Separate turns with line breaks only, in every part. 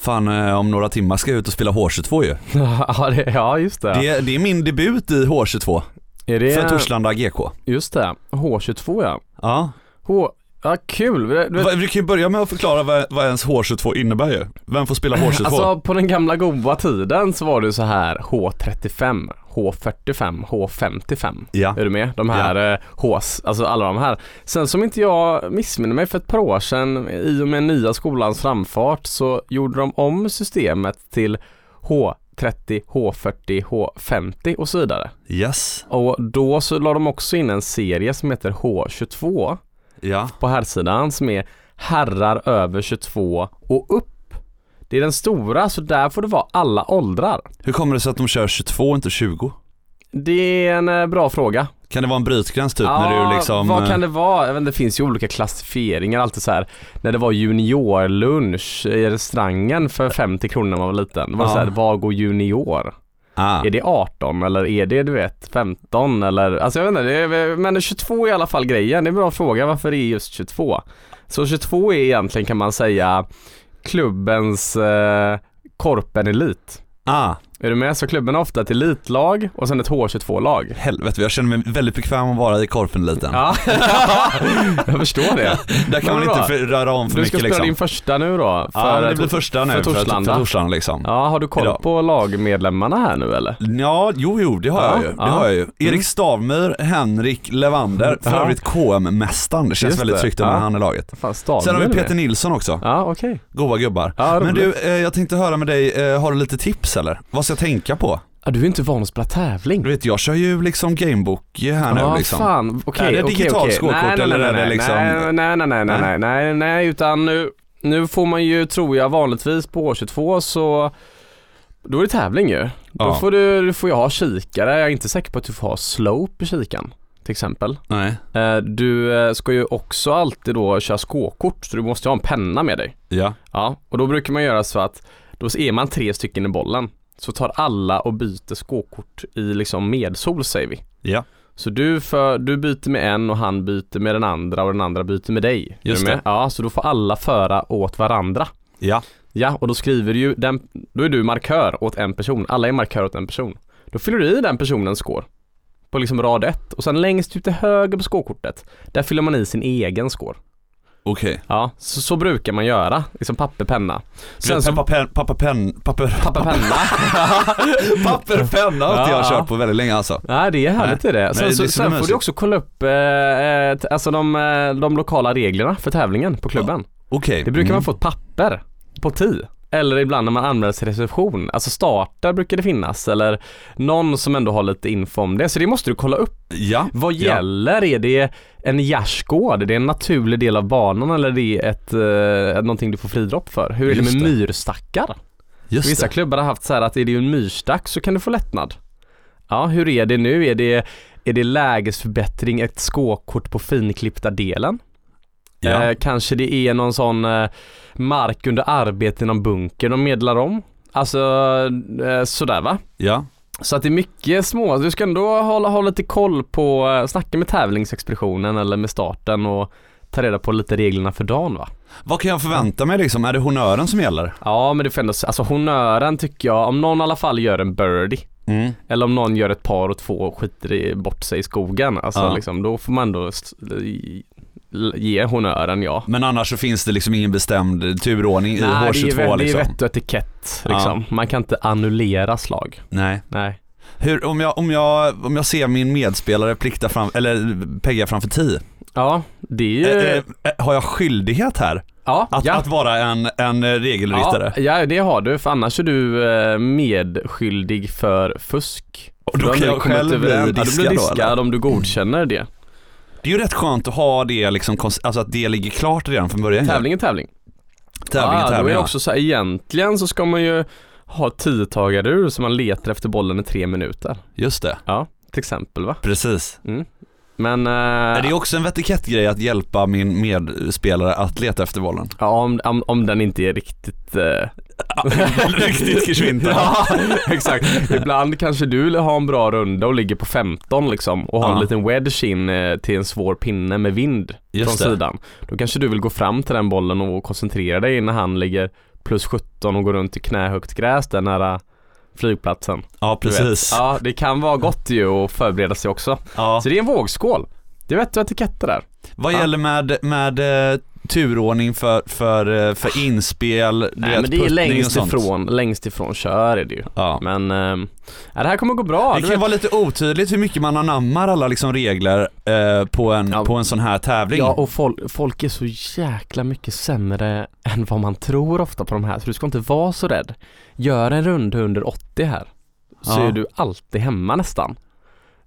Fan, eh, om några timmar ska jag ut och spela H22 ju.
ja, det, ja, just det.
Det, det är min debut i H22
är det
för Torslanda GK.
Just det. H22 ja.
Ja.
H... Ja, kul. Du vet-
Va- Vi kan ju börja med att förklara vad, vad ens H22 innebär ju. Vem får spela H22?
Alltså på den gamla goa tiden så var det ju så här H35, H45, H55.
ja.
Är du med? De här eh, H's, alltså alla de här. Sen som inte jag missminner mig för ett par år sedan i och med nya skolans framfart så gjorde de om systemet till H30, H40, H50 och så vidare.
Yes.
Och då så la de också in en serie som heter H22
Ja.
på herrsidan som är herrar över 22 och upp. Det är den stora så där får det vara alla åldrar.
Hur kommer det sig att de kör 22 och inte 20?
Det är en eh, bra fråga.
Kan det vara en brytgräns typ när du liksom...
Vad kan det vara? Jag vet, inte, det finns ju olika klassificeringar alltid så här. När det var juniorlunch i restaurangen för 50 kronor när man var liten. Det var
Ja.
så här, var går junior?
Ah.
Är det 18 eller är det du vet 15 eller? Alltså jag vet inte, det är, men 22 är i alla fall grejen. Det är en bra fråga varför det är just 22. Så 22 är egentligen kan man säga klubbens eh, korpen elit.
Ah.
Är du med? Så klubben har ofta ett elitlag och sen ett H22-lag.
Helvete, jag känner mig väldigt bekväm att vara i korpen liten.
Ja, jag förstår det.
Där kan
Men
man
bra.
inte för, röra om för
Du ska
mycket
spela
liksom.
din första nu då?
ja, det blir första nu
för
för, för,
Torslanda.
för Torslanda liksom. Ja.
Ja, har du koll
idag.
på lagmedlemmarna här nu eller?
jo, jo, det har
Ja,
jag ju. Det
ja. Mm.
har jag ju. Erik Stavmyr, Henrik Levander, för
Ja.
övrigt KM-mästaren. Det känns
Just
väldigt
det.
tryggt med
Ja.
han i laget.
Fan, Stadler
Sen har vi
är
Peter
med.
Nilsson också.
Ja, okej.
Goa gubbar.
Ja,
Men
roligt.
du, eh, jag tänkte höra med dig, eh, har du lite tips eller? Vad ska jag tänka på?
Ja, du är inte van att spela tävling.
Du vet, jag kör ju liksom Gamebook här nu
Ja,
liksom.
fan.
Är
Okej,
det
okej,
digitalt
okej.
skålkort
nej, nej,
eller
nej,
är det
nej,
liksom-
Nej, nej, nej, nej, nej,
Nej.
nej, nej, nej, utan nu, nu får man ju, tror jag, vanligtvis på H22 så då är det tävling ju. Då
Ja.
får du, du får ju ha kikare. Jag är inte säker på att du får ha slope i kikaren till exempel.
Nej.
Eh, Du eh, ska ju också alltid då köra skåkort så du måste ha en penna med dig.
Ja.
Ja, och då brukar man göra så att då är man tre stycken i bollen. Så tar alla och byter skåkort i liksom medsol säger vi.
Ja.
Så du, för, du byter med en och han byter med den andra och den andra byter med dig. Är
Just
du med?
det.
Ja, så då får alla föra åt varandra.
Ja.
Ja, och då skriver du ju, den, då är du markör åt en person. Alla är markör åt en person. Då fyller du i den personens score. På liksom rad ett och sen längst ut till höger på skåkortet, där fyller man i sin egen score.
Okej.
Ja, så, så brukar man göra. Liksom papper, penna. Sen så,
pappa, pen, pappa, pen, papper,
papper, penna.
papper, penna har inte jag
Ja.
kört på väldigt länge alltså.
Nej det är härligt är det. Sen,
Nej, det är
så,
så
sen får
mysigt.
du också kolla upp eh, eh, t- alltså de, eh, de lokala reglerna för tävlingen på klubben.
Okej.
Det brukar
Mm.
man få ett papper på ti. Eller ibland när man anmäler sig till reception. Alltså startar brukar det finnas eller någon som ändå har lite info om det. Så det måste du kolla upp.
Ja.
Vad
Ja.
gäller? Är det en gärdsgård? Är det en naturlig del av banan eller är det ett, eh, någonting du får fridropp för? Hur är
Just
det med
det.
myrstackar?
Just
Vissa
det.
klubbar har haft så här att är det en myrstack så kan du få lättnad. Ja, hur är det nu? Är det, är det lägesförbättring, ett skåkort på finklippta delen?
Ja.
Eh, kanske det är någon sån eh, mark under arbete i någon bunker de medlar om? Alltså eh, sådär va?
ja.
Så att det är mycket små, du ska ändå hålla, ha lite koll på, eh, snacka med tävlingsexpeditionen eller med starten och ta reda på lite reglerna för dagen va?
Vad kan jag förvänta mig liksom? Är det honören som gäller?
Ja men det får ändå, alltså honören tycker jag, om någon i alla fall gör en birdie
Mm.
Eller om någon gör ett par och två och skiter i, bort sig i skogen. Alltså
Ja.
liksom, då får man ändå s- i- l- ge honören ja.
Men annars så finns det liksom ingen bestämd turordning i
Nej, det är,
H22
väl, det är
liksom?
vett och etikett
Ja.
liksom. Man kan inte annullera slag.
Nej.
Nej.
Hur, om, jag, om, jag, om jag ser min medspelare plikta fram, eller pegga framför 10,
Ja, det är ju...
eh, eh, har jag skyldighet här?
ja,
Att,
ja.
att vara en, en eh, regelryttare?
ja, ja, det har du. För annars är du eh, medskyldig för fusk.
Och då
För
kan
har
jag
kommit
själv bli
överens- ja, Du
diskad
blir
då,
diskad om du godkänner det.
Det är ju rätt skönt att ha det liksom, kons- alltså att det ligger klart redan från början.
Tävling är tävling.
tävling,
ja, då är
tävling.
det
ja.
också så här, egentligen så ska man ju ha tiotagarur så man letar efter bollen i tre minuter.
Just det,
Ja, till exempel va.
precis.
Men, eh,
Är det är också en vetikettgrej att hjälpa min medspelare att leta efter bollen?
ja, om, om, om den inte är riktigt... Eh...
Riktigt geschwinter.
ja, exakt. Ibland kanske du har en bra runda och ligger på 15 liksom och har
Ja.
en liten wedge in eh, till en svår pinne med vind
Just
från
det.
sidan. Då kanske du vill gå fram till den bollen och koncentrera dig när han ligger plus 17 och går runt i knähögt gräs där nära flygplatsen.
Ja,
Du vet.
precis.
Ja, det kan vara gott ju att förbereda sig också.
Ja.
Så det är en vågskål. Det är vett och etikett det där.
Vad
Ja.
gäller med, med eh, turordning för, för, eh, för inspel, du
Nej
vet,
men det är
puttning och
längst
sånt?
ifrån, längst ifrån kör är det ju.
Ja.
Men, ehm, ja, det här kommer gå bra.
det
Du
kan
vet,
vara lite otydligt hur mycket man anammar alla liksom regler eh, på, en,
Ja.
på en sån här tävling.
Ja och folk, folk är så jäkla mycket sämre än vad man tror ofta på de här, så du ska inte vara så rädd. Gör en runda under 80 här, så
Ja.
är du alltid hemma nästan.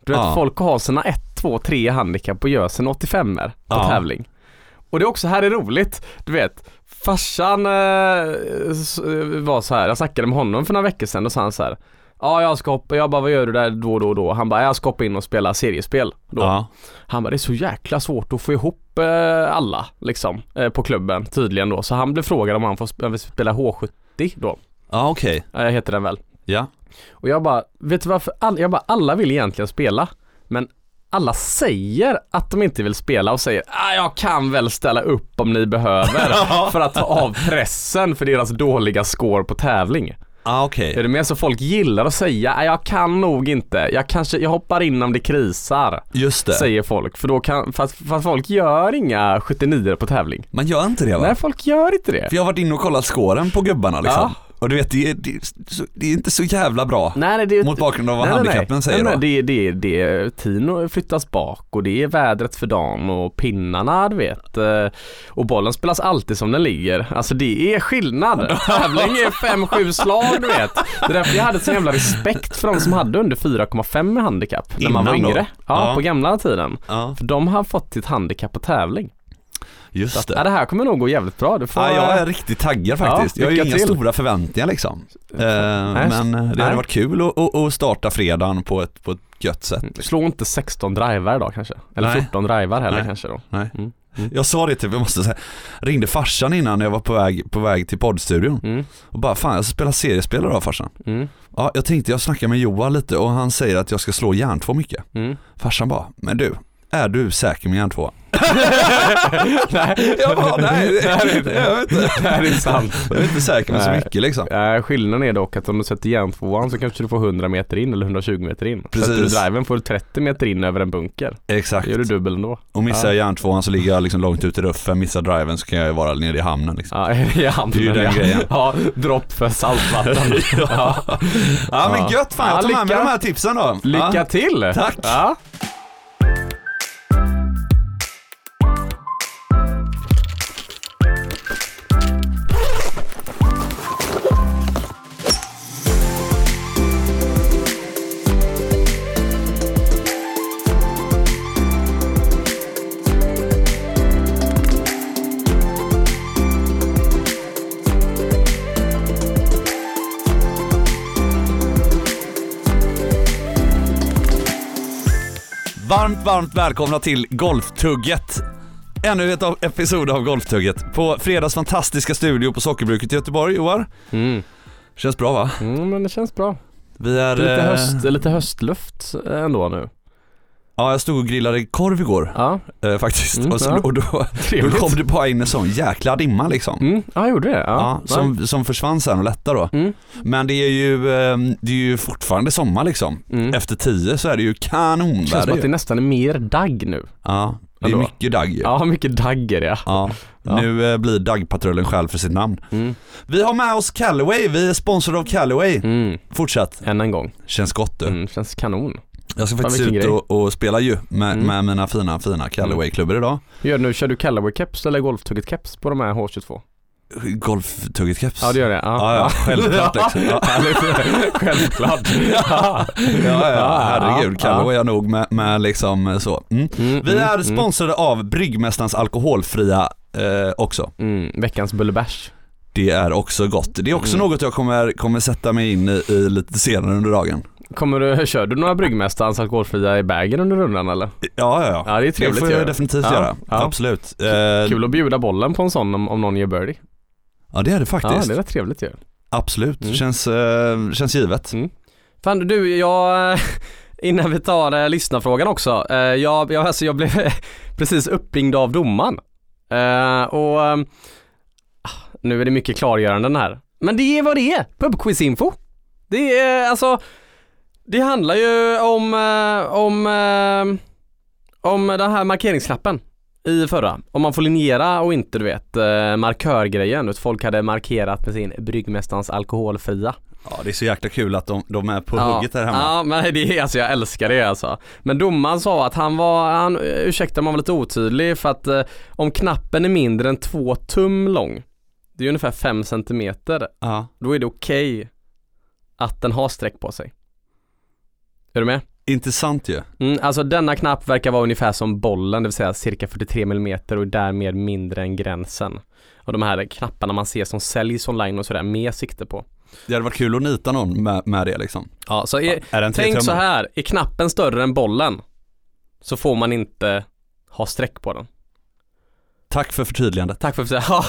Du vet
Ja.
folk har sina 1, 2, 3 handikapp och gör sina 85 er på
Ja.
tävling. Och det är också, här är roligt, du vet Farsan eh, s- eh, var så här, jag snackade med honom för några veckor sedan och sa han så här Ja jag ska hoppa, jag bara vad gör du där då och då och då? Han bara jag ska hoppa in och spela seriespel då.
Ja.
Han bara, det är så jäkla svårt att få ihop eh, alla liksom eh, på klubben tydligen då. Så han blev frågad om han får sp- om vi spela H70 då.
Ja, okej.
Eh, heter den väl.
Ja.
Och jag bara, vet du varför? All, jag bara, alla vill egentligen spela. Men alla säger att de inte vill spela och säger ah, jag kan väl ställa upp om ni behöver. för att ta av pressen för deras dåliga score på tävling.
Ja, okej.
Är det mer så folk gillar att säga, "Ah, jag kan nog inte, jag kanske, jag hoppar in om det krisar.
Just det.
Säger folk, för då kan, för att, för att folk gör inga 79 på tävling.
Man gör inte det va?
Nej, folk gör inte det.
För jag har varit inne och kollat skåren på gubbarna liksom.
Ja.
Och du vet, det är, det, är, så- det är inte så jävla bra.
Nej, nej, det är
Mot bakgrund av vad
nej, nej, nej.
handikappen säger
nej, nej,
då.
det, är- det, är- det är Tino flyttas bak och det är vädret för dagen och pinnarna du vet. eh, Och bollen spelas alltid som den ligger. Alltså det är skillnad. Tävling är 5-7 slag du vet. Det är därför jag hade så jävla respekt för de som hade under 4,5 med handikapp. När man var
Innan då?
yngre. Ja,
Ja.
på gamla tiden.
Ja,
För de har fått sitt handikapp på tävling.
just
Ja,
det.
det här kommer nog gå jävligt bra. Du får,
Ja, jag är riktigt taggad faktiskt.
Ja,
jag har ju
lycka
inga
till.
stora förväntningar liksom. Eh,
Nej,
men det hade
nej.
varit kul att, att, att starta fredagen på ett, på ett gött sätt.
Slå inte 16 drivar idag kanske. Eller
Nej.
14 drivar heller
Nej.
kanske då.
Nej.
Mm.
Jag sa det typ, jag måste säga, ringde farsan innan jag var på väg, på väg till poddstudion
Mm.
och bara fan jag ska spela seriespel idag farsan.
Mm.
Ja, jag tänkte jag snackar med Johan lite och han säger att jag ska slå järntvå mycket.
Mm.
Farsan bara, men du, är du säker med järntvå? Jag bara, nej, det,
här är inte-
jag, vet inte,
det här är inte sant.
jag är inte säker med så
Nej.
mycket liksom.
Nej, skillnaden är dock att om du sätter järntvåan så kanske du får 100 meter in eller 120 meter in.
Precis.
Sätter du driven får du 30 meter in över en bunker.
Exakt.
Då gör du dubbel ändå.
Och missar jag
Ja.
järntvåan så ligger jag liksom långt ut i ruffen, missar driven så kan jag ju vara nere i hamnen liksom.
Ja, i handen.
Det är ju den
ja.
grejen.
Ja, dropp för saltvatten. ja.
Ja men
Ja.
gött fan,
Ja,
jag tar med mig
lycka.
de här tipsen då.
Lycka
Ja.
till!
Tack.
Ja.
Varmt, varmt välkomna till Golftugget. Ännu ett av- episod av Golftugget. På fredags fantastiska studio på Sockerbruket i Göteborg, Joar.
Mm.
Känns bra va?
Mm, men det känns bra.
Vi är...
Det är lite,
eh,
höst, lite höstluft ändå nu.
Ja, jag stod och grillade korv igår
Ja,
eh, faktiskt.
Mm,
och, så,
ja.
och då, då
trevligt.
kom det bara in en sån jäkla dimma liksom.
Mm. Ja, gjorde det? Ja.
Ja, som, som försvann sen och lättade då.
Mm.
Men det är ju, eh, det är ju fortfarande sommar liksom.
Mm.
Efter tio så är det ju
Det känns som
kanonväder
att
ju.
det nästan är mer dagg nu.
Ja, det är
Ändå.
mycket dagg ju.
Ja, mycket dagg är det.
Ja.
Ja.
Nu eh, blir daggpatrullen själv för sitt namn.
Mm.
Vi har med oss Callaway, vi är sponsrade av Callaway.
Mm.
Fortsätt.
Än en gång.
Känns gott du.
Mm. Känns kanon.
Jag ska faktiskt
vilken
ut
grej.
och, och spela ju med,
Mm.
med mina fina, fina Callaway-klubbor idag.
Hur gör du nu? Kör du Callaway-keps eller golftugget-keps på de här H22?
Golftugget keps.
Ja, det gör det.
Ja, ja, självklart liksom. Ja.
självklart. Ja,
Ja, ja, herregud. Callaway är nog med, med liksom eh, så. Mm.
Mm,
Vi
mm,
är
mm,
sponsrade av Bryggmästarens Alkoholfria eh, också.
Mm. Veckans bullebärs.
Det är också gott. Det är också
Mm.
något jag kommer, kommer sätta mig in i, i lite senare under dagen.
Kommer du, kör du några Bryggmästarens alkoholfria i bagen under rundan eller?
Ja, ja, ja.
Ja, det är
Det
trevligt
får
ju.
jag definitivt
Ja,
göra.
ja.
Absolut. Eh,
Kul att bjuda bollen på en sån om, om någon gör birdie.
Ja, det är det
Ja,
faktiskt.
det är rätt trevligt ju.
Absolut,
Mm.
känns, eh, känns givet.
Fan du, jag, eh, innan vi tar eh, lyssnarfrågan också. Eh, jag, jag, alltså, jag blev precis uppringd av domaren. Eh, och eh, ehm, nu är det mycket klargöranden här. Men det är vad det är, pubquizinfo. Det är alltså, det handlar ju om, eh, om, eh, om den här markeringsknappen i förra. Om man får linjera och inte du vet eh, markörgrejen. Att folk hade markerat med sin bryggmästarens alkoholfria.
Ja, det är så jäkla kul att de, de är på hugget här hemma.
Ja, men det är alltså, jag älskar det alltså. Men domaren sa att han var, han, ursäkta om han var lite otydlig för att eh, om knappen är mindre än två tum lång, det är ungefär fem centimeter,
Ja.
då är det okej att den har streck på sig. Är du med?
Intressant ju.
Mm, alltså denna knapp verkar vara ungefär som bollen, det vill säga cirka 43 mm och därmed mindre än gränsen. Och de här knapparna man ser som säljs online och sådär med sikte på.
Det hade varit kul att nita någon med, med det liksom.
Ja, så är,
Är den tre
Eh, Tänk så
tummar?
här, är knappen större än bollen så får man inte ha streck på den.
Tack för förtydligandet.
Tack för att du säger ja.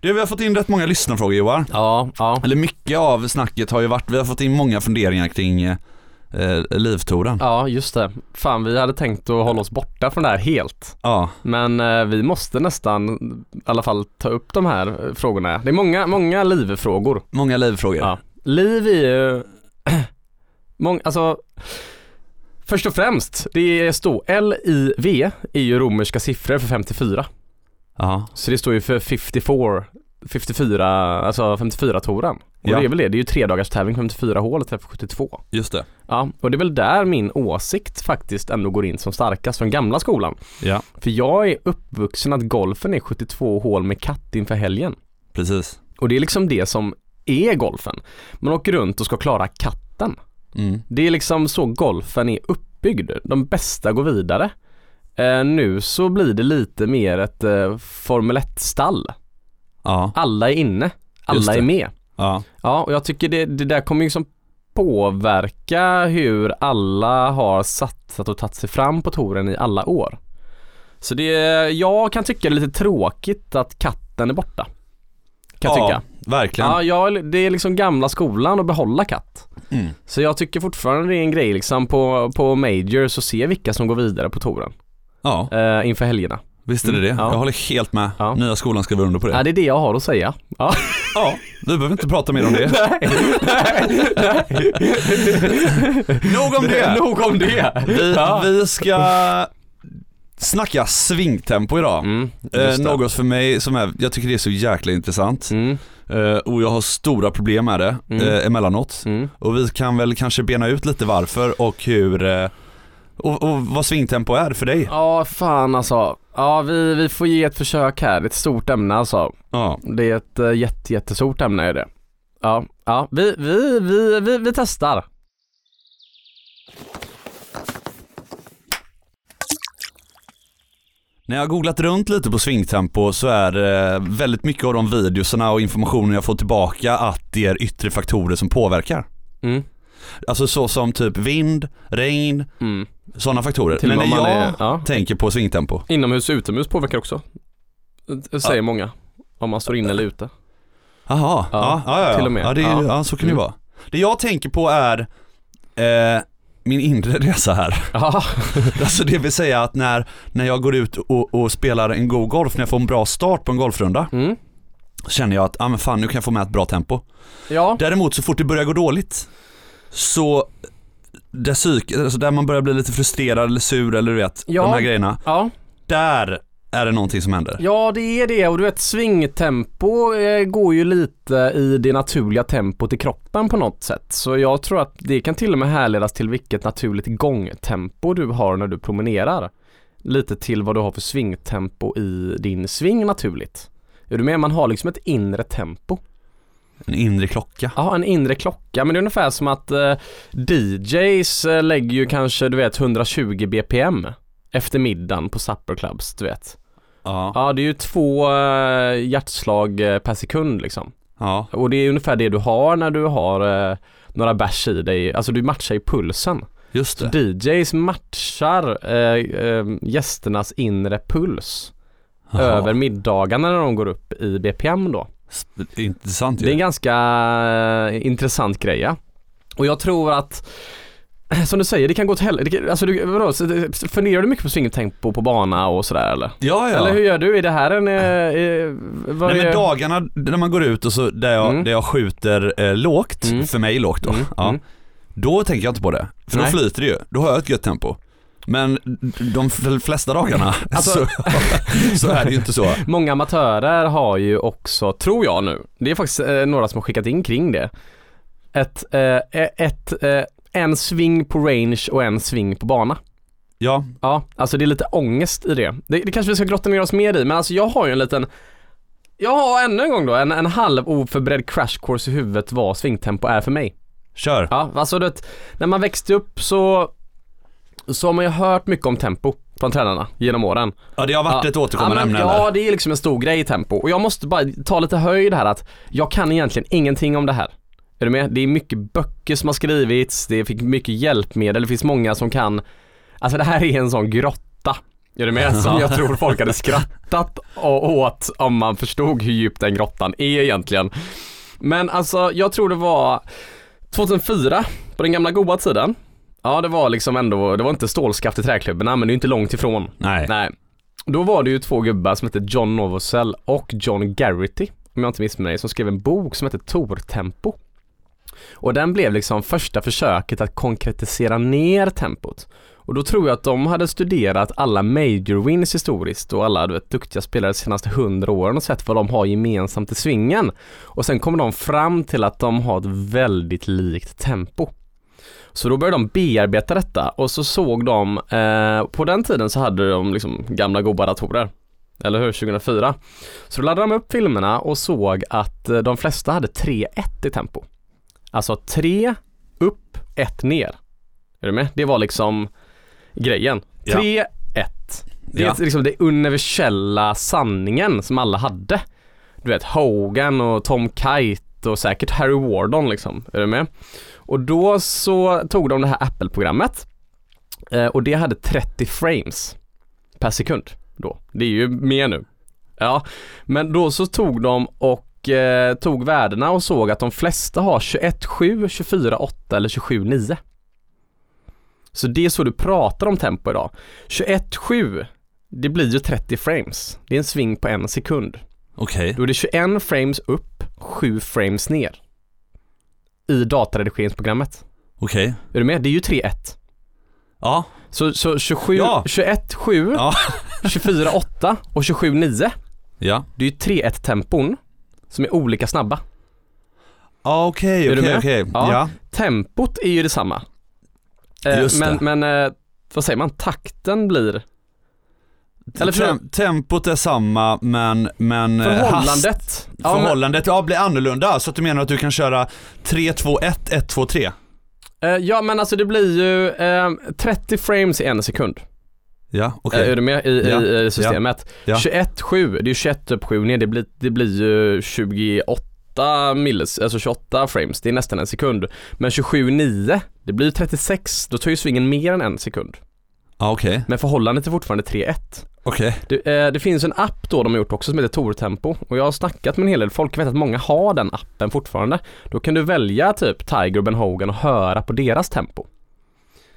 Du, vi har fått in rätt många lyssnarfrågor Johan.
Ja, ja.
Eller mycket av snacket har ju varit, vi har fått in många funderingar kring eh, eh, livtoren.
Ja, just det. Fan, vi hade tänkt att hålla oss borta från det här helt.
Ja.
Men eh, vi måste nästan i alla fall ta upp de här eh, frågorna. Det är många, många livfrågor.
Många livfrågor.
Ja. Liv är ju, mång, alltså, först och främst, det står L-I-V är ju romerska siffror för 54.
Ja.
Så det står ju för 54, 54, alltså 54 toren Och
Ja.
det är väl det, det är ju tre dagars tävling 54 hål istället för 72.
Just det.
Ja, och det är väl där min åsikt faktiskt ändå går in som starkast från gamla skolan.
Ja.
För jag är uppvuxen att golfen är 72 hål med katt inför helgen.
Precis.
Och det är liksom det som är golfen. Man åker runt och ska klara katten.
Mm.
Det är liksom så golfen är uppbyggd. De bästa går vidare. Eh, nu så blir det lite mer ett eh, Formel 1-stall.
Ja.
Alla är inne.
Just
Alla
det.
är med.
Ja.
Ja, och jag tycker det, det där kommer ju liksom påverka hur alla har satsat och tagit sig fram på touren i alla år. Så det, jag kan tycka det är lite tråkigt att katten är borta. Kan jag
ja,
tycka.
verkligen.
Ja, jag, det är liksom gamla skolan att behålla katt.
Mm.
Så jag tycker fortfarande det är en grej liksom på, på majors och se vilka som går vidare på touren
Ja,
eh, inför helgerna.
visst är det det.
Mm, ja.
Jag håller helt med.
Ja.
Nya skolan skriver under på
Ja,
det.
det är det jag har att säga. Ja.
Ja, du behöver inte prata mer om det. Nog om det.
Nog om det.
Vi,
Ja.
vi ska snacka svingtempo idag.
Mm,
Eh,
just det.
något för mig som är, jag tycker det är så jäkla intressant
Mm,
eh, och jag har stora problem med det
Mm.
eh, emellanåt.
mm.
Och vi kan väl kanske bena ut lite varför och hur eh, och, och vad svingtempo är för dig.
Ja, fan alltså. Ja, vi, vi får ge ett försök här. Det är ett stort ämne alltså.
Ja,
Det är ett eh, jätte, jättestort ämne är det. Ja, ja. Vi, vi, vi, vi, vi testar.
När jag har googlat runt lite på svingtempo så är eh, väldigt mycket av de videoserna och informationen jag får tillbaka att det är yttre faktorer som påverkar.
Mm.
Alltså så som typ vind, regn,
Mm.
sådana faktorer.
Till och
Men
med
när
om
jag
man är- ja.
tänker på svingtempo,
Inomhus och utomhus påverkar också. Det säger många. Om man står inne eller ute.
Jaha, ja,
Ja,
ja, ja, ja.
till och med.
Ja, det är, ja.
Ja.
så kan det
Mm.
vara. Det jag tänker på är eh, min inre resa här.
Ja,
Alltså det vill säga att när, när jag går ut och, och spelar en god golf, när jag får en bra start på en golfrunda,
mm.
känner jag att ah, men fan, nu kan jag få med ett bra tempo.
ja.
Däremot så fort det börjar gå dåligt, så där, psyk, alltså där man börjar bli lite frustrerad eller sur eller du vet,
Ja.
de här grejerna.
ja.
Där är det någonting som händer.
ja det är det. Och du vet svingtempo eh, går ju lite i det naturliga tempot i kroppen på något sätt. Så jag tror att det kan till och med härledas till vilket naturligt gångtempo du har när du promenerar. Lite till vad du har för svingtempo i din sving naturligt. Är du med? Man har liksom ett inre tempo.
En inre klocka.
Ja, en inre klocka. Men det är ungefär som att eh, DJs eh, lägger ju kanske, du vet, 120 BPM efter middagen på supper clubs, du vet.
Ja.
Ja, det är ju två eh, hjärtslag eh, per sekund liksom.
ja.
Och det är ungefär det du har när du har eh, några bärs i dig. Alltså du matchar ju pulsen.
Just det.
DJs matchar eh, eh, gästernas inre puls
Jaha.
över middagarna när de går upp i BPM då.
Sp- Intressant ju.
Det är en ganska eh, intressant grej ja. Och jag tror att som du säger, det kan gå åt helvete. Alltså, du, vadå, så det- funderar du mycket på swingtempo på bana och sådär eller?
Ja, ja.
Eller hur gör du? Är det här en... Eh, eh, vad
Nej,
är-
men dagarna när man går ut och så där jag,
Mm.
där jag skjuter eh, lågt,
Mm.
för mig lågt då,
Mm,
ja,
mm.
då tänker jag inte på det. För
Nej.
då flyter det ju, då har jag ett gött tempo. Men de f- flesta dagarna
Alltså-
så, så är det ju inte så.
Många amatörer har ju också, tror jag nu, det är faktiskt eh, några som har skickat in kring det. Ett, eh, ett, eh, en sving på range och en sving på bana.
Ja,
Ja, alltså det är lite ångest i det. Det, det kanske vi ska grotta ner oss mer i, men alltså jag har ju en liten jag har ännu en gång då en, en halv oförberedd crash course i huvudet vad svingtempo är för mig.
kör.
Ja, alltså du vet, när man växte upp så, så har man ju hört mycket om tempo från tränarna genom åren.
Ja, det har varit ett återkommande
ja, men,
ämne
Ja,
eller?
det är liksom en stor grej i tempo. Och jag måste bara ta lite höjd här att jag kan egentligen ingenting om det här. Är du med? Det är mycket böcker som har skrivits, det fick mycket hjälpmedel, det finns många som kan Alltså det här är en sån grotta. Är du med? Som jag tror folk hade skrattat å- åt om man förstod hur djup den grottan är egentligen. Men alltså jag tror det var 2004, på den gamla goda tiden. Ja det var liksom ändå, det var inte stålskaft i träklubborna men det är inte långt ifrån.
Nej.
Nej. Då var det ju två gubbar som hette John Novosel och John Garrity, om jag inte missminner mig, som skrev en bok som hette Tortempo. Och den blev liksom första försöket att konkretisera ner tempot. Och då tror jag att de hade studerat alla major wins historiskt och alla du vet, duktiga spelare de senaste hundra åren och sett vad de har gemensamt i svingen. Och sen kom de fram till att de har ett väldigt likt tempo. Så då började de bearbeta detta och så såg de, eh, på den tiden så hade de liksom gamla goda datorer. Eller hur? 2004. Så då laddade de upp filmerna och såg att eh, de flesta hade 3-1 i tempo. Alltså 3 upp, 1 ner. Är du med? Det var liksom grejen.
Ja.
3-1. Det är
Ja.
liksom den universella sanningen som alla hade. Du vet Hogan och Tom Kite och säkert Harry Wardon liksom. Är du med? Och då så tog de det här Apple-programmet eh, och det hade 30 frames per sekund då. Det är ju mer nu. Ja, men då så tog de och eh, tog värdena och såg att de flesta har 21.7, 24.8 eller 27.9. Så det är så du pratar om tempo idag. 21.7, det blir ju 30 frames. Det är en sving på en sekund.
Okej.
Då är det 21 frames upp, 7 frames ner. I dataredigeringsprogrammet.
Okej.
Är du med? Det är ju 3-1.
Ja.
Så, så 27,
Ja.
21, 7,
Ja.
24, 8 och 27, 9.
Ja.
Det är ju 3-1 tempon som är olika snabba.
Ja, Okej,
Är du
okej,
med?
okej.
Ja.
Ja.
Tempot är ju detsamma. Eh,
Just
men
det.
men eh, vad säger man? Takten blir Eller för-
Tem- tempot är samma men, men eh, hast-
förhållandet. Ja, men,
förhållandet ja, blir annorlunda. Så att du menar att du kan köra 3, 2, 1, 1, 2, 3?
eh, ja men alltså det blir ju eh, 30 frames i en sekund.
Ja, okej.
Eh, Är du med i,
Ja.
i eh, systemet?
Ja.
21, 7, det är 21 upp 7 ner, det blir, det blir ju 28 millis, alltså 28 frames, det är nästan en sekund. Men 27, 9, det blir ju 36, då tar ju svingen mer än en sekund.
Ja, okej.
Men förhållandet är fortfarande 3-1.
Okej.
Det, eh, det finns en app då de har gjort också som heter Tortempo och jag har snackat med en hel del folk, jag vet att många har den appen fortfarande. Då kan du välja typ Tiger och Ben Hogan och höra på deras tempo.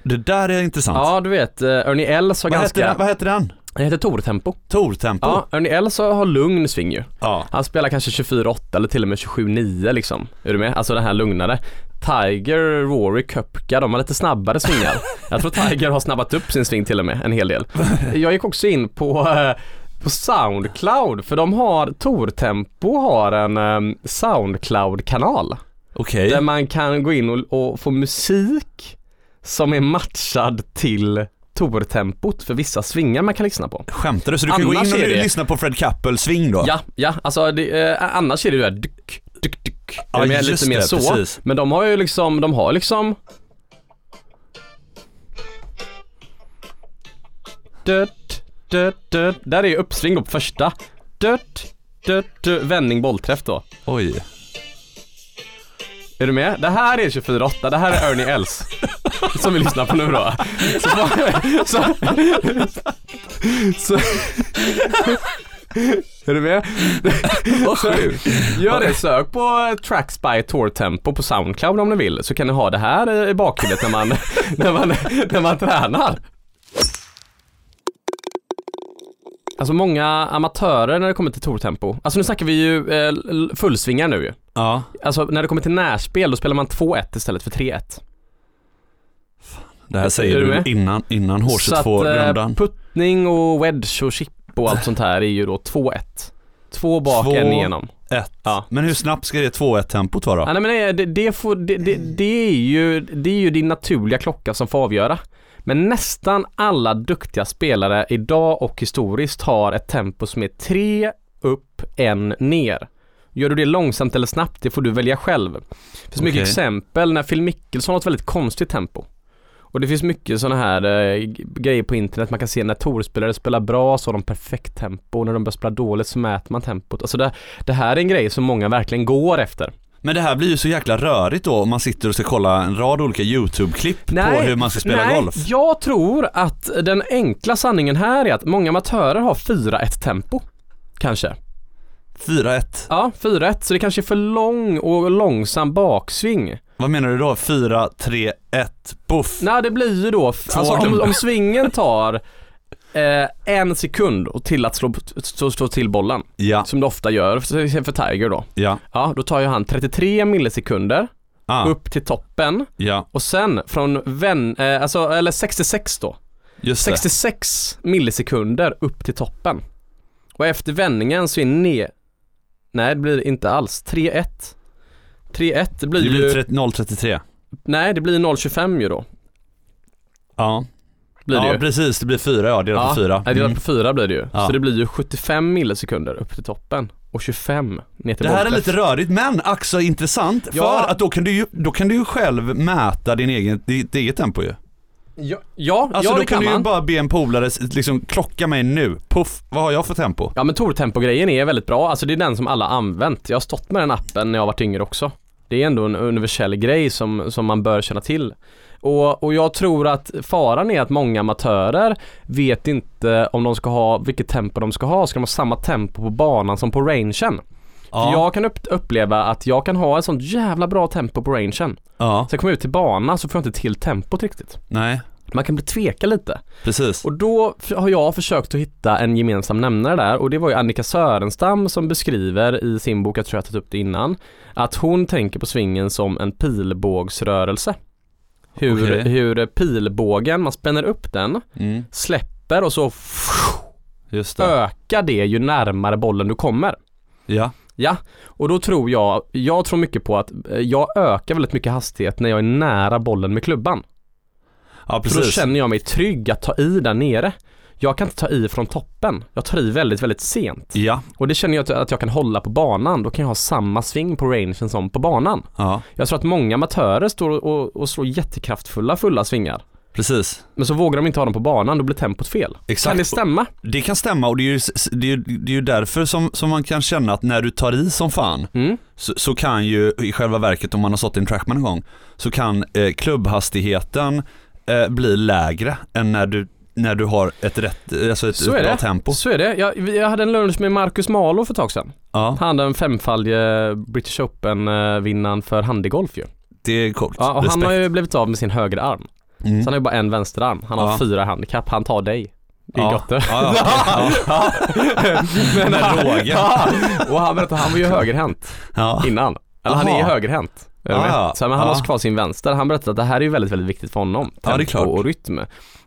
Det där är intressant.
Ja du vet, eh, Ernie Els har
vad,
ganska...
heter den, vad heter den?
Det heter Tortempo.
Tortempo?
Ja, Ernie Els har har lugn sving ju.
Ja.
Han spelar kanske 24-8 eller till och med 27-9 liksom. Är du med? Alltså den här lugnare. Tiger, Rory, Köpka, de har lite snabbare svingar. Jag tror Tiger har snabbat upp sin sving till och med en hel del. Jag gick också in på, eh, på Soundcloud för de har, Tortempo har en eh, Soundcloud-kanal.
Okej.
Där man kan gå in och, och få musik som är matchad till Tortempot för vissa svingar man kan lyssna på.
Skämtar du? Så du kan gå in och
Annars är det-
lyssna på Fred Kappel swing då?
Ja, ja, alltså det, eh, annars är det ju det där dyk, dyk, dyk.
Ja,
det är
just
lite mer
det,
så.
precis.
Men de har ju liksom, de har liksom... Dött, dött, dött. Där är ju uppsving då på första. Dött, dött, dött. Vändning, bollträff då.
Oj.
Är du med? Det här är 24-8, det här är Ernie Els. Som vi lyssnar på nu då. Så, så, så, Är du med?
Vad sjukt.
Gör det, sök på eh, Tracks by Tour Tempo på Soundcloud om ni vill så kan ni ha det här eh, i bakhuvudet när man, när man, när man tränar. Alltså många amatörer när det kommer till Tour-tempo. Alltså nu snackar vi ju eh, l- fullsvingar nu ju.
Ja,
Alltså när det kommer till närspel då spelar man 2-1 istället för 3-1.
det här säger
Är du
du
med?
innan, innan
Så att, eh,
H22-rundan.
Puttning och wedge och chip och allt sånt här är ju då 2-1. Två bak,
Två-
en igenom.
Ett.
Ja.
Men hur snabbt ska det 2-1 tempot vara
Ja,
då?
nej, men det, det, det, får, det, det, det, är ju, det är ju din naturliga klocka som får avgöra. Men nästan alla duktiga spelare idag och historiskt har ett tempo som är tre upp, en ner. Gör du det långsamt eller snabbt, det får du välja själv. Det finns mycket
Okej.
exempel när Phil Mickelson har ett väldigt konstigt tempo. Och det finns mycket sådana här eh, g- grejer på internet man kan se när torspelare spelar bra så har de perfekt tempo och när de börjar spela dåligt så mäter man tempot. Alltså det, det här är en grej som många verkligen går efter.
Men det här blir ju så jäkla rörigt då om man sitter och ska kolla en rad olika YouTube-klipp på hur man ska spela
nej,
golf.
Jag tror att den enkla sanningen här är att många amatörer har 4-1 tempo. Kanske.
4-1.
Ja, 4-1 så det kanske är för lång och långsam baksving.
Vad menar du då? 4-3-1. Buff.
Nej, det blir ju då, f-
Två
alltså om,
klubbar.
om svingen tar eh, en sekund och till att slå, slå, slå till bollen,
Ja,
som det ofta gör för, för Tiger då.
ja,
Ja, då tar ju han 33 millisekunder
ah,
upp till toppen
ja,
och sen från vän, eh, alltså, eller 66 då.
just det.
66 millisekunder upp till toppen. Och efter vändningen så är ne... Nej det blir det inte alls. 3-1. 3-1 det
Det
blir,
blir
ju...
30 0-33.
Nej det blir 0,25 ju då.
Ja,
Blir det
ja
ju.
precis. Det blir 4 ja, delat på 4.
Nej, delat på 4 blir det ju.
Ja.
Så det blir ju 75 millisekunder upp till toppen och 25 ner till
Det här är
bollträff.
lite rörigt men ack så intressant
Ja.
för att då kan, du ju, då kan du ju själv mäta din egen, ditt eget tempo ju.
Ja, ja,
Alltså
ja
då
det
kan
kan
du ju
man.
bara be en polare s- liksom klocka mig nu, puff, vad har jag för tempo?
Ja men Tortempo-grejen är väldigt bra, alltså det är den som alla har använt. Jag har stått med den appen när jag har varit yngre också. Det är ändå en universell grej som, som man bör känna till. Och, och jag tror att faran är att många amatörer vet inte om de ska ha, vilket tempo de ska ha. Ska de ha samma tempo på banan som på rangen? För jag kan upp, uppleva att jag kan ha ett sånt jävla bra tempo på rangen.
ja,
Sen kommer jag ut till banan så får jag inte till tempot riktigt.
nej,
Man kan bli tveka lite.
precis.
Och då f- har jag försökt att hitta en gemensam nämnare där och det var ju Annika Sörenstam som beskriver i sin bok, jag tror jag har tagit upp det innan, att hon tänker på svingen som en pilbågsrörelse. Hur,
Okej.
hur pilbågen, man spänner upp den,
Mm,
släpper och så
just det.
ökar det ju närmare bollen du kommer.
Ja,
Ja, och då tror jag, jag tror mycket på att eh, jag ökar väldigt mycket hastighet när jag är nära bollen med klubban.
ja
För då
precis.
känner jag mig trygg att ta i där nere. Jag kan inte ta i från toppen. Jag tar i väldigt, väldigt sent.
Ja,
Och det känner jag att- att jag kan hålla på banan. Då kan jag ha samma sving på rangen som på banan.
ja,
Jag tror att många amatörer står och, och slår jättekraftfulla, fulla svingar.
precis.
Men så vågar de inte ha dem på banan, då blir tempot fel.
Exakt.
Kan det stämma?
Det kan stämma och det är ju, s- det är ju, det är ju därför som, som man kan känna att när du tar i som fan
Mm.
så, så kan ju i själva verket om man har stått i en trackman en gång så kan eh, klubbhastigheten eh, bli lägre än när du, när du har ett rätt, eh, alltså ett,
Så
ett
är
bra
det.
tempo.
Så är det. Jag, vi- jag hade en lunch med Marcus Malo för ett tag sedan.
Ja,
Han den femfaldige British Open-vinnaren för handigolf ju.
det är coolt.
Ja, och han
Respekt.
har ju blivit av med sin högra arm.
Mm.
Så han har ju bara en vänsterarm. Han har
Ja.
fyra handikapp. Han tar dig. Det är
Ja.
gott det.
Ja, ja, ja.
Men
Med råge.
Ja. Och han berättade, han var ju högerhänt
ja.
innan. Eller han
Aha.
är ju högerhänt. Är du
Ja,
med?
ja.
Så, men han
Ja.
har kvar sin vänster. Han berättade att det här är ju väldigt, väldigt viktigt för honom. Tempo
Ja, det är klart.
och rytm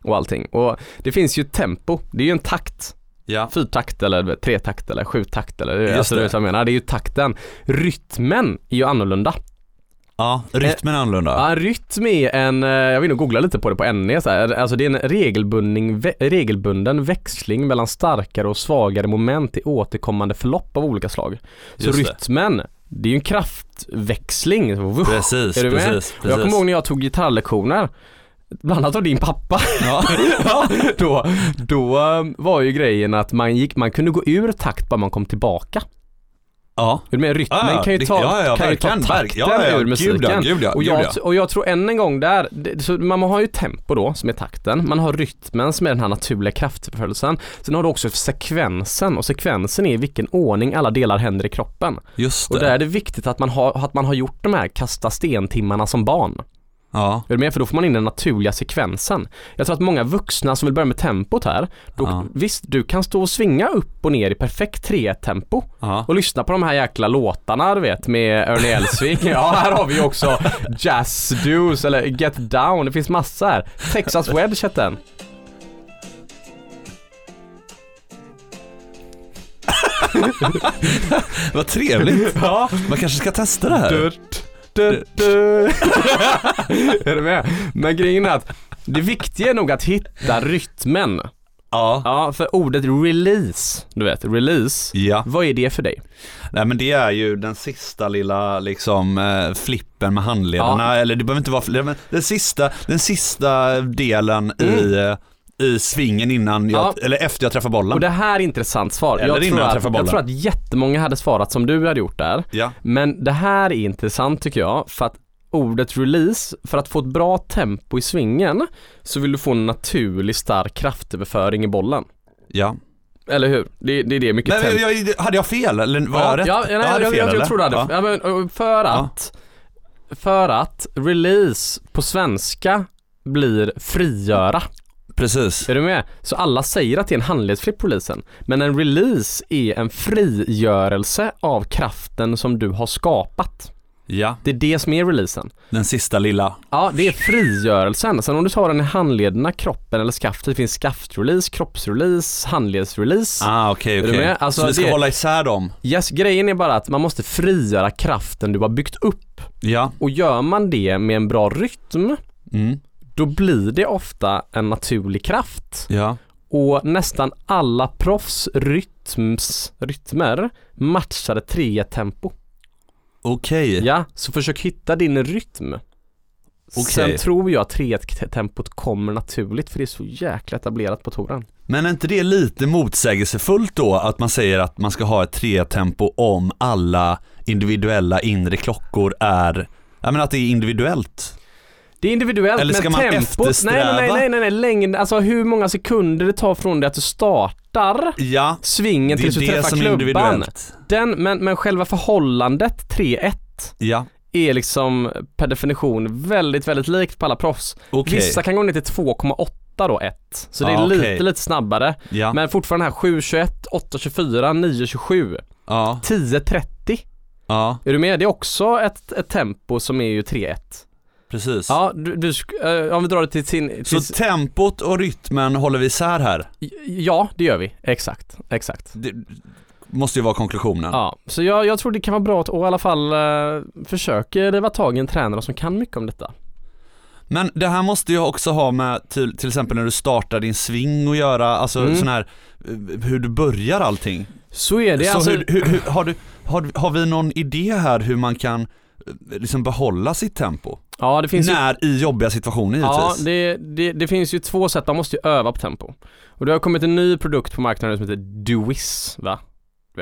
och allting. Och det finns ju tempo. Det är ju en takt.
ja.
Fyrtakt eller tretakt eller sjutakt eller
Just
alltså, det.
det.
Är vad jag menar. Det är ju takten. Rytmen är ju annorlunda.
ja. rytmen är annorlunda.
Ja, en rytm är en, eh, jag vill nog googla lite på det på NE så här. alltså det är en regelbunden, vä- regelbunden växling mellan starkare och svagare moment i återkommande förlopp av olika slag. Så
Just det.
rytmen, det är ju en kraftväxling. Vuff.
Precis,
Är du med?
precis,
Och Jag
precis.
kommer ihåg när jag tog gitarrlektioner, bland annat av din pappa.
Ja.
Ja, då, då eh, var ju grejen att man, gick, man kunde gå ur takt bara man kom tillbaka.
Ja.
Men rytmen
Ja, ja,
kan ju
Ah, det-
ta,
ja, ja,
kan ju ta
verkligen,
takten
verk- ja, ja, ja,
ur musiken.
gud ja, gud ja,
och,
gud
jag,
ja.
och jag tror än en gång där, det, så man har ju tempo då som är takten, man har rytmen som är den här naturliga kraftförföljelsen. Sen har du också sekvensen och sekvensen är i vilken ordning alla delar händer i kroppen.
Just det.
Och där är det viktigt att man har, att man har gjort de här kasta stentimmarna som barn.
Ja.
Är du med? För då får man in den naturliga sekvensen. Jag tror att många vuxna som vill börja med tempot här, då,
Ja.
visst du kan stå och svinga upp och ner i perfekt 3-tempo
ja.
och lyssna på de här jäkla låtarna du vet med Ernie Elsvik. ja, här har vi ju också Jazz Dues eller Get Down, det finns massa här. Texas Wedge hette den.
Vad trevligt.
Ja.
Man kanske ska testa det här.
Dört, dört, dört. är du med? Men grejen är att det viktiga är nog att hitta rytmen.
Ja.
Ja, för ordet release, du vet, release.
Ja.
Vad är det för dig?
Nej men det är ju den sista lilla liksom eh, flippen med handledarna, eller det behöver inte vara fl- men den sista, den sista delen i, eh, i svingen innan jag,
Mm. Ja.
eller efter jag träffar bollen.
Och det här är intressant svar.
Eller innan jag
tror, att,
träffar bollen.
jag tror att jättemånga hade svarat som du hade gjort där.
Ja.
Men det här är intressant tycker jag för att ordet release, för att få ett bra tempo i svingen så vill du få en naturlig stark kraftöverföring i bollen.
ja.
Eller hur? Det, det är det mycket
Men
tempo.
jag, jag, hade jag fel eller var jag rätt?
Ja, ja, nej, jag,
hade
jag,
fel,
jag,
eller?
jag tror det. hade-
Ja.
Ja, men, och för att, för att release på svenska blir frigöra.
Precis.
Är du med? Så alla säger att det är en handledsfri polisen. Men en release är en frigörelse av kraften som du har skapat.
Ja,
Det är det som är releasen.
den sista lilla.
Ja, det är frigörelsen. Sen om du tar den i handlederna, kroppen eller skaftet, det finns skaftrelease, kroppsrelease, handledsrelease.
Ah okej
du
okej.
med? Alltså,
Så vi ska
det-
hålla isär dem.
Yes, grejen är bara att man måste frigöra kraften du har byggt upp.
Ja.
Och gör man det med en bra rytm,
Mm.
då blir det ofta en naturlig kraft.
Ja.
Och nästan alla proffs rytms, rytmer matchade trea tempo.
Okej.
Ja, så försök hitta din rytm. Sen
Okej.
tror jag att trea t- tempot kommer naturligt för det är så jäkla etablerat på touren.
Men är inte det lite motsägelsefullt då att man säger att man ska ha ett tretempo om alla individuella inre klockor är, jag menar att det är individuellt?
Det är individuellt
Eller ska
men
man
tempot, nej
eftersträva?
nej nej nej, nej, nej. längden, alltså hur många sekunder det tar från det att du startar
Ja,
svingen
det
tills
är
du
det
träffar
som är
klubban.
individuellt.
Den, men, men själva förhållandet 3-1
Ja,
är liksom per definition väldigt, väldigt likt på alla proffs.
okej.
Vissa kan gå ner till 2,8 då 1. Så det är
Ja, okej. Ah.
lite, lite snabbare.
Ja,
Men fortfarande här 7,21, 8,24, 9,27,
ja,
10,30.
ja,
Är du med? Det är också ett, ett tempo som är ju 3,1.
precis.
Ja, du, du, sk- eh, om vi drar det till sin... Till,
Så tempot och rytmen håller vi isär här.
ja, det gör vi. Exakt, exakt.
Det måste ju vara konklusionen.
Ja, så jag, jag tror det kan vara bra att och i alla fall eh, försöka riva tag i en tränare som kan mycket om detta.
Men det här måste ju också ha med till, till exempel när du startar din sving och göra, alltså
Mm.
sån här, eh, hur du börjar allting.
Så är det.
så
alltså,
hur, hur, hur, har, du, har, har vi någon idé här hur man kan eh, liksom behålla sitt tempo?
ja, det finns ju
När i jobbiga situationer
Ja,
givetvis.
det, det, det finns ju två sätt. Man måste ju öva på tempo. Och det har kommit en ny produkt på marknaden som heter Duis, va?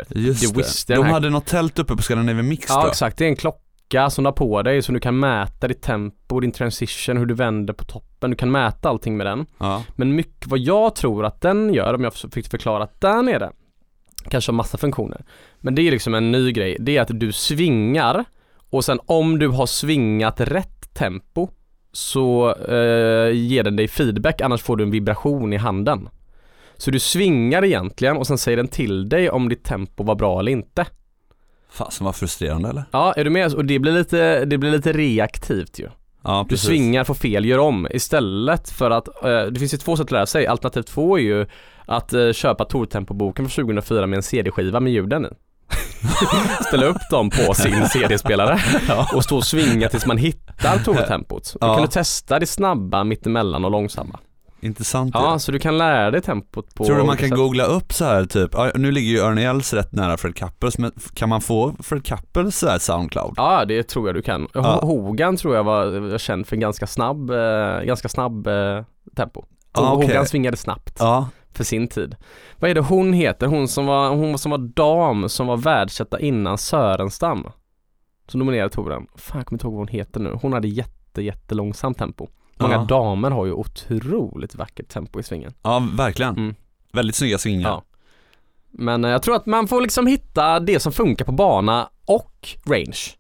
Just
det visste
det.
jag
De
här.
hade något tält uppe på Scandinavian Mix
Ja,
då.
exakt. Det är en klocka som du har på dig som du kan mäta ditt tempo, din transition, hur du vänder på toppen. Du kan mäta allting med den.
Ja.
Men mycket vad jag tror att den gör, om jag fick förklara att där nere kanske har massa funktioner. Men det är liksom en ny grej. Det är att du svingar och sen om du har svingat rätt tempo så eh, ger den dig feedback annars får du en vibration i handen. Så du svingar egentligen och sen säger den till dig om ditt tempo var bra eller inte.
Fasen vad frustrerande eller?
Ja, är du med? Och det blir lite, det blir lite reaktivt ju.
Ja,
Du
precis.
svingar, får fel, gör om istället för att, eh, det finns ju två sätt att lära sig. Alternativ två är ju att eh, köpa Tortempo-boken från 2004 med en CD-skiva med ljuden i. Ställa upp dem på sin CD-spelare
Ja.
och stå och svinga tills man hittar Tortempot. Då
Ja.
kan du testa det snabba, mittemellan och långsamma.
Intressant
Ja, så du kan lära dig tempot på
det. Tror du man kan
olika sätt.
googla upp så här typ, ja, nu ligger ju Ernie Els rätt nära Fred Kappels, men f- kan man få Fred Kappels så här Soundcloud?
Ja, det tror jag du kan. Ho-
Ja.
Hogan tror jag var, var känd för en ganska snabb, eh, ganska snabb eh, tempo.
Ja, okej.
Hogan svingade snabbt.
Ja,
för sin tid. Vad är det hon heter? Hon som var, hon som var dam som var världsetta innan Sörenstam. Som nominerade touren. Fan jag kommer inte ihåg vad hon heter nu. Hon hade jätte jättelångsamt tempo. Många
Ja.
damer har ju otroligt vackert tempo i svingen.
Ja, verkligen.
Mm.
Väldigt snygga svingar.
Ja. Men eh, jag tror att man får liksom hitta det som funkar på bana och range. Så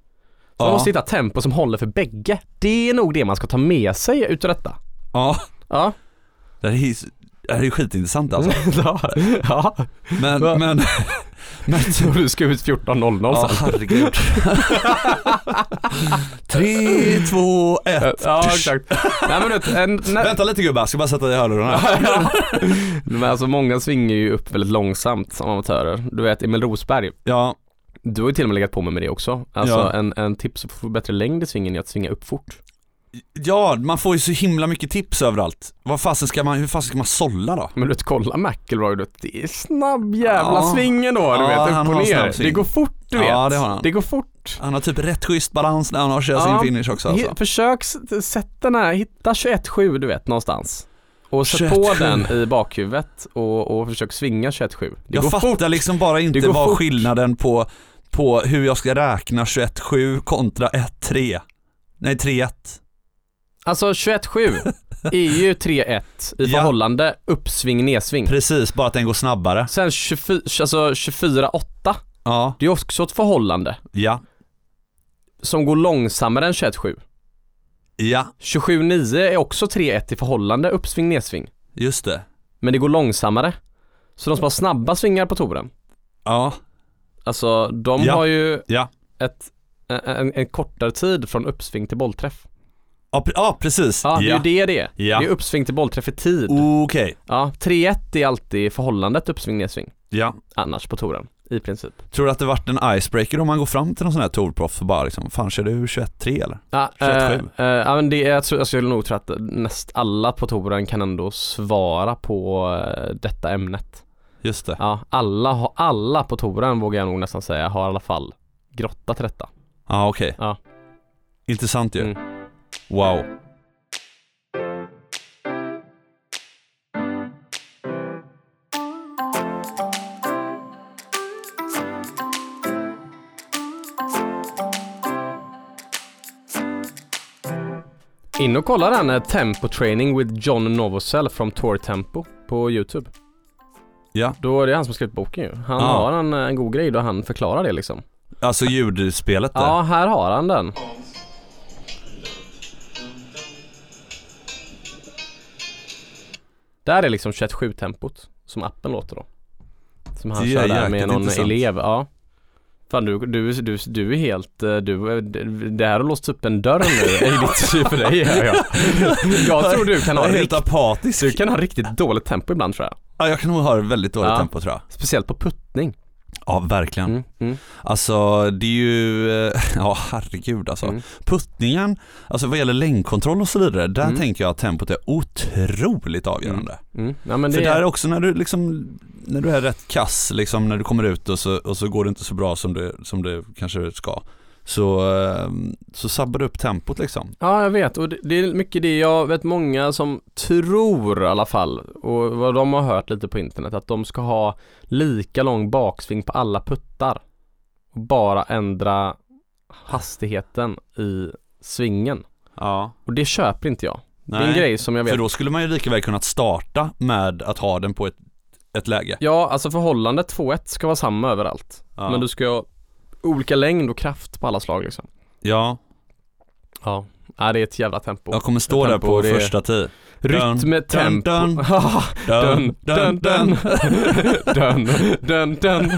Man
Ja.
måste hitta tempo som håller för bägge. Det är nog det man ska ta med sig utav detta.
Ja,
Ja.
det här är ju- det här är ju skitintressant alltså.
ja. ja.
Men,
Va?
men, men typ-
Och du ska ut 14.00
Ja,
sen.
herregud. Tre, två, ett.
Ja exakt. Nej men du vet, en- när-
Vänta lite gubbar, jag ska bara sätta dig i hörlurarna.
Men alltså många svingar ju upp väldigt långsamt som amatörer. Du vet Emil Rosberg,
Ja,
du har ju till och med legat på mig med det också. Alltså
Ja.
en, en tips för att få bättre längd i svingen är att svinga upp fort.
ja, man får ju så himla mycket tips överallt. Vad fasen ska man, hur fasen ska man sålla då?
Men du vet kolla McIlroy, du vet, det är snabb jävla
Ja.
sving ändå du
Ja,
vet,
han
upp
har
och
en snabb
ner.
sving.
Det går fort du vet.
Ja, det har han.
Det går fort.
Han har typ rätt schysst balans när han kör
Ja.
sin finish också alltså.
He- Försök, s- sätt den här, hitta 21-7 du vet någonstans. Och sätt på
21-7.
den i bakhuvudet och, och försök svinga 21-7. Det
Jag
går
fattar
fort.
liksom bara inte
går
vad
fort.
skillnaden på, på hur jag ska räkna 21-7 kontra 1-3. Nej, 3-1.
Alltså E 21-7 är ju 3-1 i
Ja.
förhållande uppsving nedsving.
Precis, bara att den går snabbare.
Sen 24, alltså 24-8,
Ja,
det är också ett förhållande
ja,
som går långsammare än 21-7.
ja,
27-9 är också 3-1 i förhållande uppsving nedsving.
just det.
Men det går långsammare. Så de som har snabba svingar på touren,
Ja,
alltså de
Ja.
har ju
ja.
ett, en, en kortare tid från uppsving till bollträff.
Ja, pre- ja precis.
Ja, det är ju det det är.
Ja.
Det är uppsving till bollträff i tid.
Okej,
Ja, 3-1 är alltid förhållandet uppsving nedsving.
ja.
Annars på touren, i princip.
Tror du att det vart en icebreaker om man går fram till någon sån här tourproff och bara liksom, fan kör du 21-3 eller?
Ja,
27.
eh, eh, ja men det är, jag, tror, alltså, jag skulle nog tro att näst alla på touren kan ändå svara på eh, detta ämnet.
Just det.
Ja, alla, har- alla på touren vågar jag nog nästan säga har i alla fall grottat detta.
Ja okej.
Ja.
Intressant ju.
Mm.
Wow.
In och kolla den eh, Tempo Training with John Novosel from Tour Tempo på YouTube.
Ja.
Då är det han som skrivit boken ju. Han
Ja.
har en, eh, en god grej då han förklarar det liksom.
Alltså ljudspelet där.
Ja, här har han den. Där är liksom 21-7 tempot som appen låter då. Som han
Det är
kör där med
jäkligt
någon
intressant.
elev. Ja. Fan du, du, du, du är helt, eh, du, det här har låst upp en dörr nu i ditt liv för dig. hör Jag, jag tror du kan
Jag
ha,
är helt
rikt,
apatisk.
du kan ha riktigt dåligt tempo ibland tror jag.
Ja, jag kan nog ha väldigt dåligt
Ja.
tempo tror jag.
Speciellt på puttning.
Ja, verkligen.
Mm, mm,
Alltså det är ju, eh, ja herregud alltså.
Mm.
Puttningen, alltså vad gäller längdkontroll och så vidare, där
Mm.
tänker jag att tempot är otroligt avgörande.
mm. Ja, men det
För där är
är,
också när du liksom, när du är rätt kass, liksom när du kommer ut och så, och så går det inte så bra som det, som det kanske ska. Så, eh, så sabbar du upp tempot liksom.
ja, jag vet och det, det är mycket det jag vet många som tror i alla fall och vad de har hört lite på internet att de ska ha lika lång baksving på alla puttar och bara ändra hastigheten i svingen
Ja.
och det köper inte jag. Det är en
Nej,
grej som jag vet.
För då skulle man ju lika väl kunnat starta med att ha den på ett, ett läge.
Ja, alltså förhållandet 2-1 ska vara samma överallt.
Ja.
Men du ska ha olika längd och kraft på alla slag liksom.
ja.
Ja. Ja, det är ett jävla tempo.
Jag kommer stå där
Tempo,
på
det är-
första tid.
Rytm,
dun,
tempo.
dun.
Dun, dun, dun, dun, dun, dun.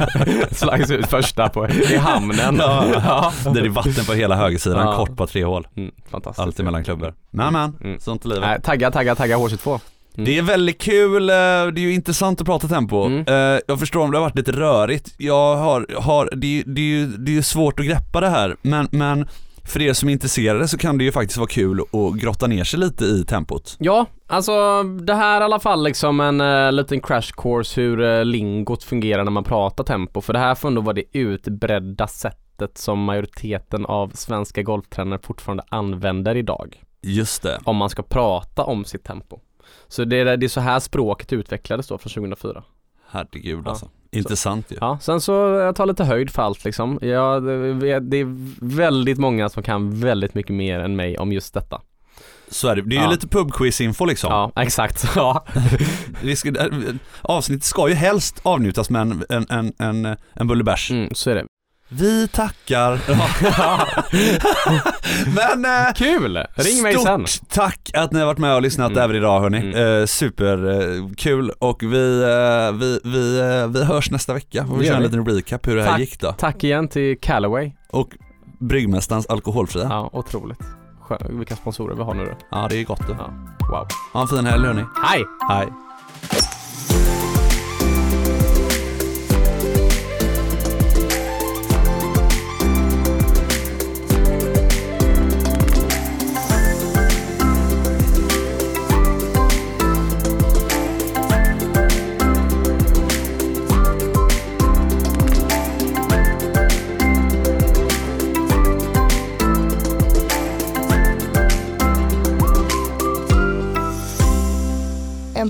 Slags ut första på, i hamnen.
Ja. Där det är vatten på hela högersidan,
Ja.
kort på tre hål.
Mm, fantastiskt.
Alltid mellan klubbor. Men men,
Mm.
sånt är livet.
Nej, tagga, tagga, tagga H22. Mm.
Det är väldigt kul, eh, det är ju intressant att prata tempo.
Mm.
Eh, Jag förstår om det har varit lite rörigt, jag har, har det, är ju- det, är ju, det är ju svårt att greppa det här, men, men för er som är intresserade så kan det ju faktiskt vara kul att grotta ner sig lite i tempot.
Ja, alltså det här är i alla fall liksom en eh, liten crash course hur eh, lingot fungerar när man pratar tempo. För det här får ändå vara det utbredda sättet som majoriteten av svenska golftränare fortfarande använder idag.
Just det.
Om man ska prata om sitt tempo. Så det är, det är så här språket utvecklades då från 2004.
Herregud
Ja.
alltså. Intressant ju.
Ja, sen så jag tar lite höjd för allt liksom. Jag, det det är väldigt många som kan väldigt mycket mer än mig om just detta.
Så är det. Det är ju
Ja.
lite pubquiz-info liksom.
Ja, exakt. Ja,
Vi ska, äh, avsnittet ska ju helst avnjutas med en, en, en, en, en bullebärs.
mm, så är det.
Vi tackar. Men eh,
Kul! Ring mig sen.
Stort tack att ni har varit med och lyssnat
Mm.
även idag hörni.
Mm.
Eh, Superkul eh, kul. och vi, eh, vi, vi, eh, vi hörs nästa vecka och
Det
vi
gör
kör en
vi.
liten recap hur det här
Tack.
gick då.
Tack igen till Callaway.
Och Bryggmästarens alkoholfria. Ja.
Ja, otroligt. Skö- Vilka sponsorer vi har nu då.
det är gott det.
Ja. Wow.
Ha en fin helg hörni.
Hej!
Hej.
En